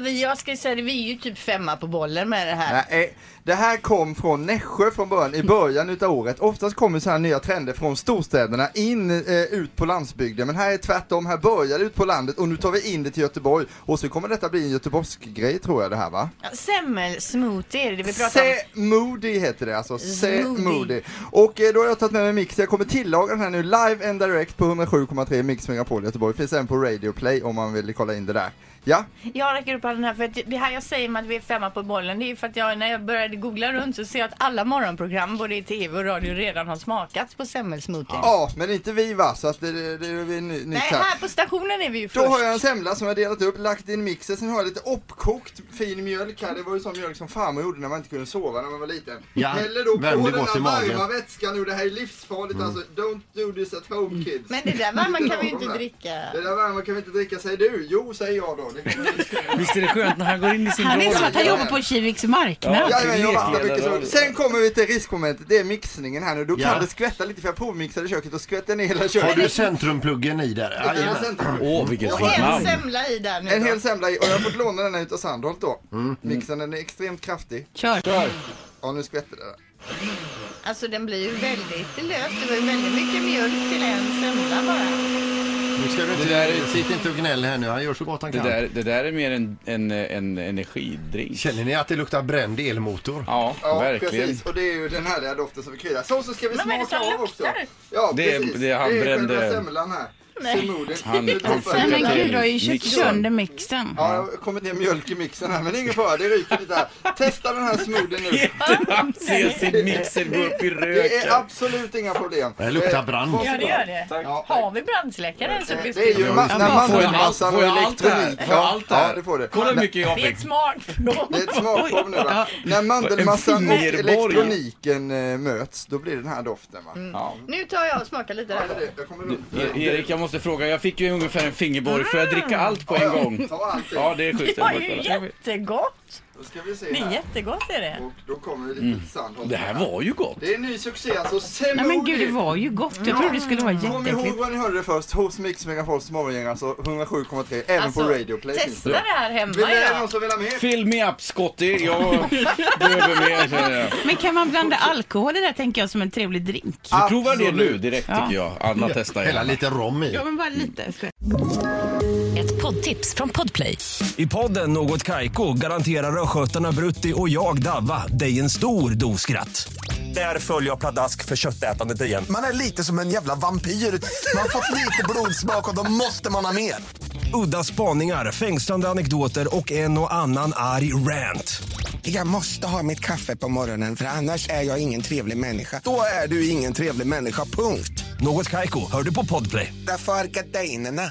vi, jag ska säga det, vi är ju typ femma på bollen med det här. Nej, eh, det här kom från Nässjö från början, i början utav året. Oftast kommer så här nya trender från storstäderna in eh, ut på landsbygden. Men här är tvärtom, här börjar det ut på landet och nu tar vi in det till Göteborg. Och så kommer detta bli en Göteborgsgrej tror jag det här va? Ja, Semmelsmoothie är det vi pratar om. Se Moody heter det alltså, Se Smoothie. Moody. Och eh, då har jag tagit med mig mix, jag kommer tillaga den här nu live and direct på 107,3 Mix Megapol Göteborg. Finns även på Radio Play om man vill kolla in det där. Ja, Jag räcker upp handen här för att det här jag säger med att vi är femma på bollen det är ju för att jag, när jag började googla runt så ser jag att alla morgonprogram både i tv och radio redan har smakats på semmelsmoothie. ja men inte vi va? Så att det, det, det är vi ny, Nej, nytt här. här på stationen är vi ju Då först. har jag en semla som jag delat upp, lagt i en mixer, sen har jag lite uppkokt fin mjölk här. Det var ju sån mjölk som farmor gjorde när man inte kunde sova när man var liten. Ja, Häller då på den värmde gott i här magen. Mm. varma vätskan nu, det här är livsfarligt alltså. Don't do this at home kids. Men det där varma kan vi ju inte Det där- dricka. Det där varma kan vi inte dricka, säger du? Jo, säger jag då. Det kan vi- Visst är det skönt när han går in i sin Han är roll? som att han jobbar på Kiviks marknad. Ja. Ja, men jag vattar mycket Lekdelar så. och- Sen kommer vi till riskmomentet, det är mixningen här nu. Då Ja. kan det skvätta lite för jag provmixade köket och skvätte ner hela Har köket. du centrumpluggen i där? Ja, Jajamän. centrum. Åh, vilket Och fint en namn. semla i där nu En då. hel semla i och jag har fått låna den här utav Sandholt då. Mm. Mixen den är extremt kraftig. Kör. Ja nu skvätter det. där. Alltså den blir ju väldigt lös. Det var ju väldigt mycket mjölk till en semla bara. Nu ska vi inte... Det där, sitt inte och gnäll här nu, han gör så gott han Det kan. där, det där är mer en, en, en energidrink. Känner ni att det luktar bränd elmotor? Ja, Ja verkligen. precis och det är ju den härliga doften som vi kryddar. Så, så ska vi Men vad är det smaka som av också. luktar? Ja Det är- precis. det är han brände- själva semlan här. Nej. Simodin. Han- Nu han toppar Nej vi men det. gud, du har ju kört Mixen. sönder mixen. Ja, jag har kommit ner mjölk i mixen här men ingen fara, det ryker lite här. Testa den här smoothien nu. Han ser sin mixer gå upp i Det röken. är absolut inga problem. Det luktar Eh, brand. varsågod. Ja det gör det. Ja, Har vi brandsläckare ens uppe i Det är ju studion? ma- när man Får jag massan allt- och får jag allt här? elektronik. Får jag allt ja, här? det får du. Kolla hur mycket jag Det är fick. ett smakprov. Det är ett smakprov nu va? När mandelmassan och En fingerborg. elektroniken eh, möts, då blir det den här doften va? Ja. Nu tar jag och smakar lite Ja, där det är då. det. Jag kommer runt. E- Erik, jag måste fråga. Jag fick ju ungefär en fingerborg. Får jag dricka allt på en gång? Ta allt det. Ja, det är schysst. Det var ju jättegott. Då ska vi se Det är här. jättegott är det. Och då kommer vi lite till Sandholt. Mm. Det här var ju gott. Det är en ny succé alltså, Nej men gud, det Semodi! var ju gott. Jag trodde det skulle vara Kom ihåg jätteäckligt. var ni hörde det först, hos Mix Megafols morgongäng alltså 107,3, även Alltså, på Radio Play. finns Testa det. det här hemma Vill det någon idag. som vill ha mer? Fill me up, Scotty. Jag behöver mer, känner jag. Men kan man blanda alkohol i det här, tänker jag som en trevlig drink? Du provar det Absolut. nu direkt, tycker jag. Anna, testa Hälla gärna. lite rom i. Ja men bara lite. Ett poddtips från Podplay. I podden Något Kaiko garanterar östgötarna Brutti och jag, Davva, dig en stor dos skratt. Där följer jag pladask för köttätandet igen. Man är lite som en jävla vampyr. Man har fått lite blodsmak och då måste man ha mer. Udda spaningar, fängslande anekdoter och en och annan arg rant. Jag måste ha mitt kaffe på morgonen för annars är jag ingen trevlig människa. Då är du ingen trevlig människa, punkt. Något Kaiko, hör du på Podplay. Därför arkadeinerna.